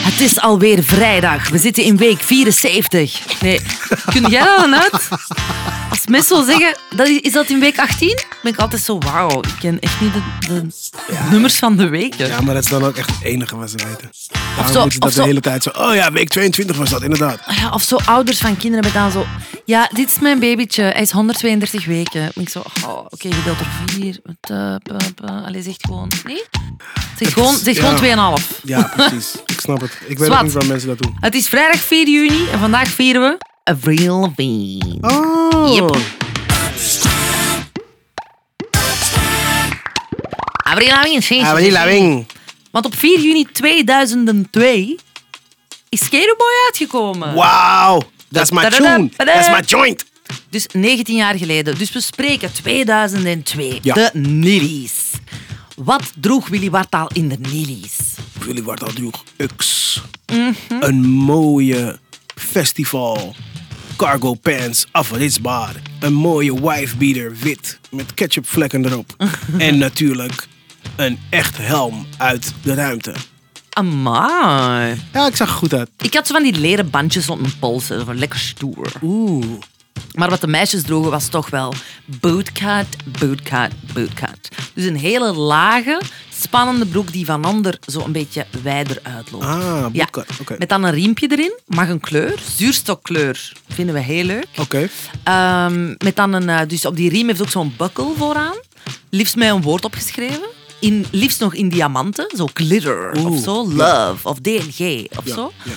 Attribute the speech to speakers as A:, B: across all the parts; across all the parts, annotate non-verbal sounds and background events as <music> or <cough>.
A: Het is alweer vrijdag. We zitten in week 74. Nee, kun jij dat dan uit? Als mensen zo zeggen, dat is, is dat in week 18? Ben ik altijd zo, wauw, ik ken echt niet de, de nummers van de weken.
B: Ja, maar dat is dan ook echt het enige wat ze weten. Daarom
A: zo-
B: moeten ze dat
A: of
B: de
A: zo-
B: hele tijd zo... Oh ja, week 22 was dat, inderdaad.
A: Ah Ja, of zo ouders van kinderen hebben dan zo... Ja, dit is mijn babytje. Hij is 132 weken. Dan ben ik zo... Oh, Oké, gedeeld door 4. Allee, zeg gewoon... Nee? Zeg gewoon, zeg
B: ja.
A: gewoon 2,5. <laughs>
B: Ja, precies. Ik snap het. Ik weet
A: Zwat.
B: ook niet waar mensen dat doen.
A: Het is vrijdag 4 juni en vandaag vieren we... Avril Lavigne.
B: Oh.
A: Yep. Avril Lavigne. jezus.
B: Avril Lavigne.
A: Want op 4 juni 2002 is Skaterboy uitgekomen.
B: Wauw. Dat is mijn
A: Da-da-da-da-da.
B: tune. Dat is mijn joint.
A: Dus 19 jaar geleden. Dus we spreken 2002.
B: Ja.
A: De Nillies. Wat droeg Willy Wartaal in de Nillies?
B: Jullie wordt al droeg Ux.
A: Mhm.
B: Een mooie festival. Cargo pants, afwisbaar. Een mooie wifebeater, wit, met ketchupvlekken erop.
A: <laughs>
B: en natuurlijk een echt helm uit de ruimte.
A: Amai.
B: Ja, ik zag er goed uit.
A: Ik had zo van die leren bandjes rond mijn polsen. Zo van lekker stoer.
B: Oeh.
A: Maar wat de meisjes droegen was toch wel bootcut, bootcut, bootcut. Dus een hele lage, spannende broek die van ander zo een beetje wijder uitloopt.
B: Ah,
A: Ja,
B: bootcut, oké.
A: Met dan een riempje erin, mag een kleur, zuurstokkleur, vinden we heel leuk.
B: Oké.
A: Ehm, met dan een, eh, dus op die riem heeft ook zo'n buckle vooraan. Liefst met een woord opgeschreven. In, liefst nog in diamanten, zo glitter
B: Oeh,
A: of zo, love of DNG of
B: Ja,
A: zo.
B: ja,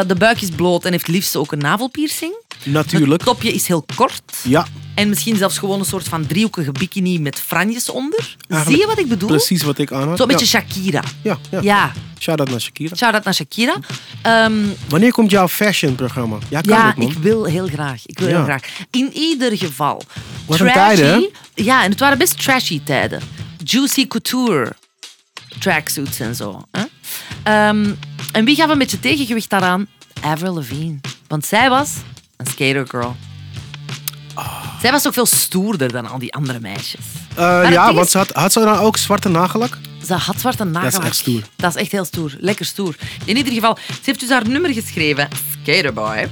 A: Eh, de buik is bloot en heeft liefst ook een navelpiercing.
B: Natuurlijk.
A: Het topje is heel kort.
B: Ja,
A: En misschien zelfs gewoon een soort van driehoekige bikini met franjes onder. Zie
B: Eigenlijk
A: je wat ik bedoel?
B: precies wat ik aan had.
A: Zo'n beetje
B: Ja,
A: Shakira.
B: ja, ja.
A: Ja,
B: Shout-out naar Shakira.
A: shout-out naar Shakira. Ehm,
B: Wanneer komt jouw fashion-programma? Ja, kan
A: ja,
B: het, man.
A: ik wil heel graag. Ik wil
B: Ja.
A: heel graag. In ieder geval.
B: Wat een tijden,
A: Ja, en het waren best trashy tijden. Juicy couture. Tracksuits en zo. Hè? Ehm, en wie gaf een beetje tegengewicht daaraan? Avril Lavigne. Want zij was een skater girl. Zij was ook veel stoerder dan al die andere meisjes.
B: Ah. Eh,
A: het
B: ja,
A: ding
B: want
A: is-
B: ze had, had ze dan ook zwarte nagellak?
A: Ze had zwarte nagellak.
B: echt stoer.
A: Dat is echt heel stoer. Lekker stoer. In ieder geval, ze heeft dus haar nummer geschreven. Skaterboy.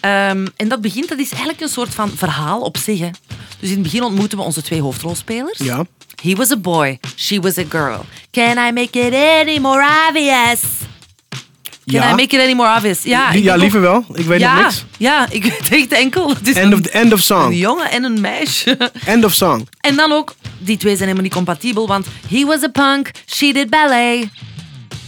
A: Ehm, en dat begint, dat is eigenlijk een soort van verhaal op zich. Hè. Dus in het begin ontmoeten we onze twee hoofdrolspelers.
B: Ja.
A: He was a boy, she was a girl. Can I make it any more obvious? Can
B: ja.
A: I make it any more obvious? Ja,
B: Li-
A: ik
B: ja
A: denk
B: liever
A: ook-
B: wel. Ik weet
A: ja,
B: nog niks.
A: Ja, ik weet echt enkel. Het is
B: End of,
A: een-
B: the- end of
A: een
B: song.
A: jongen en een meisje.
B: End of song.
A: En dan ook, die twee zijn helemaal niet compatibel, want he was a punk, she did ballet.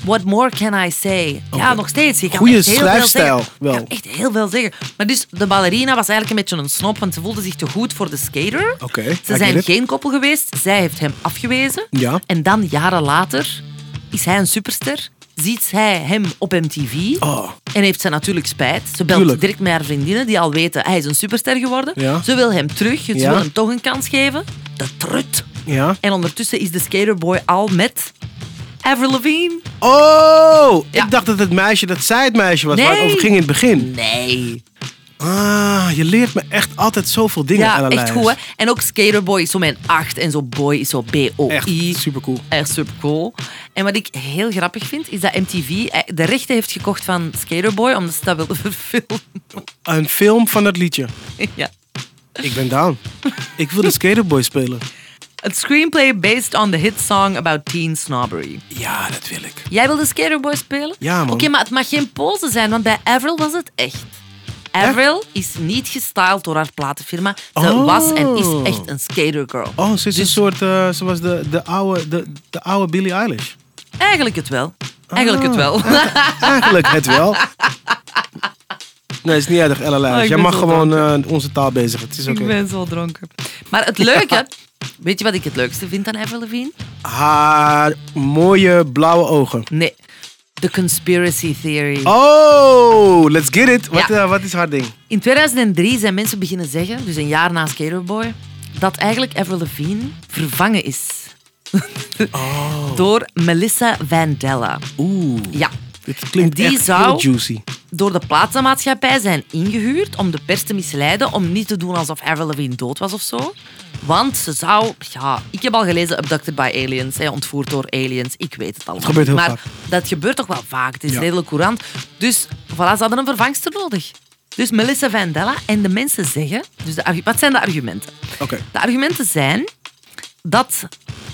A: What more can I say? Ja, nog steeds. Je kan
B: Goeie
A: echt heel veel
B: schrijfstijl,
A: zeggen.
B: wel.
A: Je kan echt heel veel zeggen. Maar dus, de ballerina was eigenlijk een beetje een snop, want ze voelde zich te goed voor de skater.
B: Oké, I
A: Ze
B: get
A: zijn
B: it.
A: geen koppel geweest, zij heeft hem afgewezen.
B: Ja.
A: En dan, jaren later, is hij een superster. Ziet zij hem op MTV
B: Oh.
A: en heeft ze natuurlijk spijt. Ze belt
B: Tuurlijk.
A: direct met haar vriendinnen die al weten hij is een superster geworden.
B: Ja.
A: Ze wil hem terug, ze
B: Ja.
A: wil hem toch een kans geven. De trut.
B: Ja.
A: En ondertussen is de skaterboy al met Avril Lavigne.
B: Oh!
A: Ja.
B: Ik dacht dat het meisje, dat zij het meisje was waar het
A: Nee.
B: over ging in het begin.
A: Nee.
B: Ah, je leert me echt altijd zoveel dingen aan
A: Ja, echt goed hè. En ook skaterboy is zo mijn 8 en zo boy is zo
B: Echt
A: B-O-I.
B: supercool.
A: Echt supercool. En wat ik heel grappig vind, is dat MTV eh, de rechten heeft gekocht van Skaterboy, omdat ze dat wilden <laughs> verfilmen.
B: Een film van dat liedje.
A: ja.
B: Ik ben down. Ik
A: <laughs>
B: wil de skaterboy spelen.
A: A screenplay based on the hit song about teen snobbery.
B: Ja, dat wil ik.
A: Jij wilde Skaterboy spelen?
B: Ja, man.
A: Oké, maar het mag geen pose zijn, want bij Avril was het echt. Avril is niet gestyled door haar platenfirma. Ze
B: Oh.
A: was en is echt een skatergirl.
B: Oh, ze is
A: Dus-
B: een soort, eh, ze was de, de, oude, de, de oude Billie Eilish.
A: Eigenlijk het wel. Eigenlijk
B: Ah.
A: het wel.
B: Eigenlijk het wel.
A: <laughs>
B: Nee, het is niet erg,
A: Oh,
B: LLR.
A: ik
B: Jij
A: ben
B: mag
A: zo
B: gewoon eh, onze taal bezig. Het is
A: <laughs>
B: oké.
A: Ik ben zo dronken. Maar het leuke, <laughs> weet je wat ik het leukste vind aan Avril Lavigne?
B: Haar mooie blauwe ogen.
A: Nee, de conspiracy theory.
B: Oh, let's get it. Wat,
A: Ja.
B: eh, wat is haar ding?
A: In 2003 zijn mensen beginnen zeggen, dus een jaar na Skaterboy, dat eigenlijk Avril Lavigne vervangen is <laughs>
B: Oh.
A: door Melissa Vandella.
B: Oeh,
A: Ja.
B: dit klinkt
A: En die
B: echt
A: zou-
B: heel juicy.
A: door de platenmaatschappij zijn ingehuurd om de pers te misleiden, om niet te doen alsof Avril Lavigne dood was of zo. Want ze zou... Ja, ik heb al gelezen Abducted by Aliens, hè, ontvoerd door aliens. Ik weet het al.
B: gebeurt heel
A: maar
B: vaak.
A: dat gebeurt toch wel vaak. Het is
B: Ja.
A: redelijk courant. Dus voilà, ze hadden een vervangster nodig. Dus Melissa Vandella en de mensen zeggen... Dus de, argu- wat zijn de argumenten?
B: Oké.
A: De argumenten zijn dat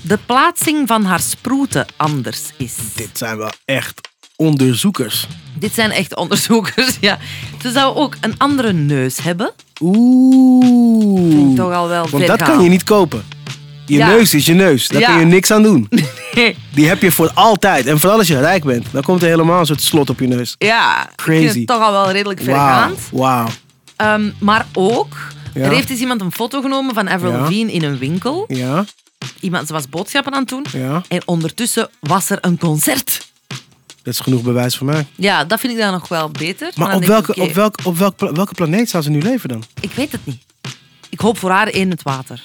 A: de plaatsing van haar sproeten anders is.
B: Dit zijn wel echt onderzoekers.
A: Dit zijn echt onderzoekers, ja. Ze zou ook een andere neus hebben.
B: Oeh.
A: Vind ik toch al wel
B: Want
A: ver
B: dat
A: gaan.
B: kan je niet kopen. Je
A: Ja.
B: neus is je neus. Daar
A: Ja.
B: kun je niks aan doen. Die heb je voor altijd. En vooral als je rijk bent. Dan komt er helemaal een soort slot op je neus.
A: ja, ik vind
B: Crazy.
A: het toch al wel redelijk
B: Wauw.
A: vergaand.
B: Wauw.
A: Ehm, maar ook,
B: Ja.
A: er heeft eens iemand een foto genomen van Avril
B: Ja.
A: Lavigne in een winkel.
B: Ja.
A: Iemand, ze was boodschappen aan het doen.
B: Ja.
A: En ondertussen was er een concert.
B: Dat is genoeg bewijs voor mij.
A: Ja, dat vind ik dan nog wel beter.
B: Maar
A: dan
B: op,
A: denk ik,
B: welke,
A: oké,
B: op, welk, op welk, pla- welke planeet zou ze nu leven dan?
A: Ik weet het niet. Ik hoop voor haar in het water.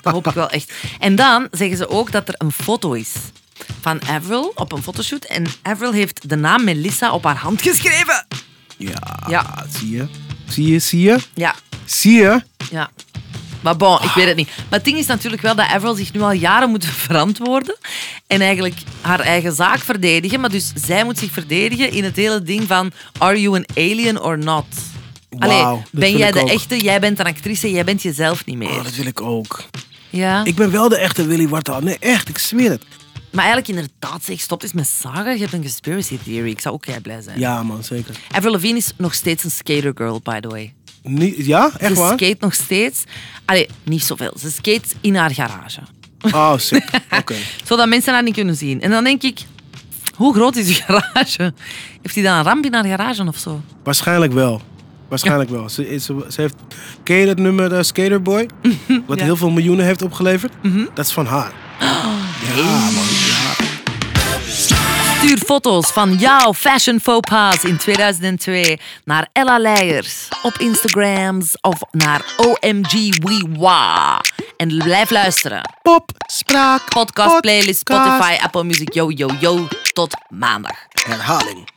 A: Dat hoop ik wel echt. En dan zeggen ze ook dat er een foto is van Avril op een fotoshoot. En Avril heeft de naam Melissa op haar hand geschreven.
B: Ja.
A: Ja.
B: Zie je? Zie je? Zie je?
A: Ja,
B: Zie je?
A: ja. Maar bon, ik weet het niet. Maar het ding is natuurlijk wel dat Avril zich nu al jaren moet <laughs> verantwoorden. En eigenlijk haar eigen zaak verdedigen. Maar dus zij moet zich verdedigen in het hele ding van... Are you an alien or not?
B: Wauw, dat
A: ben
B: wil
A: jij
B: ik
A: de
B: ook.
A: echte? Jij bent een actrice, jij bent jezelf niet
B: Oh,
A: meer.
B: dat wil ik ook.
A: Ja.
B: Ik ben wel de echte Willy Wartaal. Nee, echt. Ik zweer het.
A: Maar eigenlijk inderdaad, zeg, stop eens met Saga. Je hebt een conspiracy theory. Ik zou ook jij blij zijn.
B: Ja, man. Zeker.
A: Avril Lavigne is nog steeds een skatergirl, by the way.
B: Niet, ja? Echt
A: ze
B: waar?
A: skate nog steeds. Allee, niet zoveel. Ze skate in haar garage.
B: Oh, sick.
A: <laughs>
B: Oké.
A: Zodat mensen haar niet kunnen zien. En dan denk ik, hoe groot is die <laughs> garage? Heeft hij dan een ramp in haar garage of zo?
B: Waarschijnlijk wel. Waarschijnlijk wel. Ze, is- ze, ze heeft, ken je dat nummer eh, Skaterboy? Wat
A: Ja.
B: heel veel miljoenen heeft opgeleverd? Dat is van haar. Ja, man.
A: Stuur foto's van jouw fashion faux pas in 2002 naar Ella Leijers op Instagrams of naar OMG Wewa. En blijf luisteren.
B: Pop, spraak,
A: podcast, playlist,
B: podcast.
A: Spotify, Apple Music. Yo, yo, yo. Tot maandag.
B: herhaling.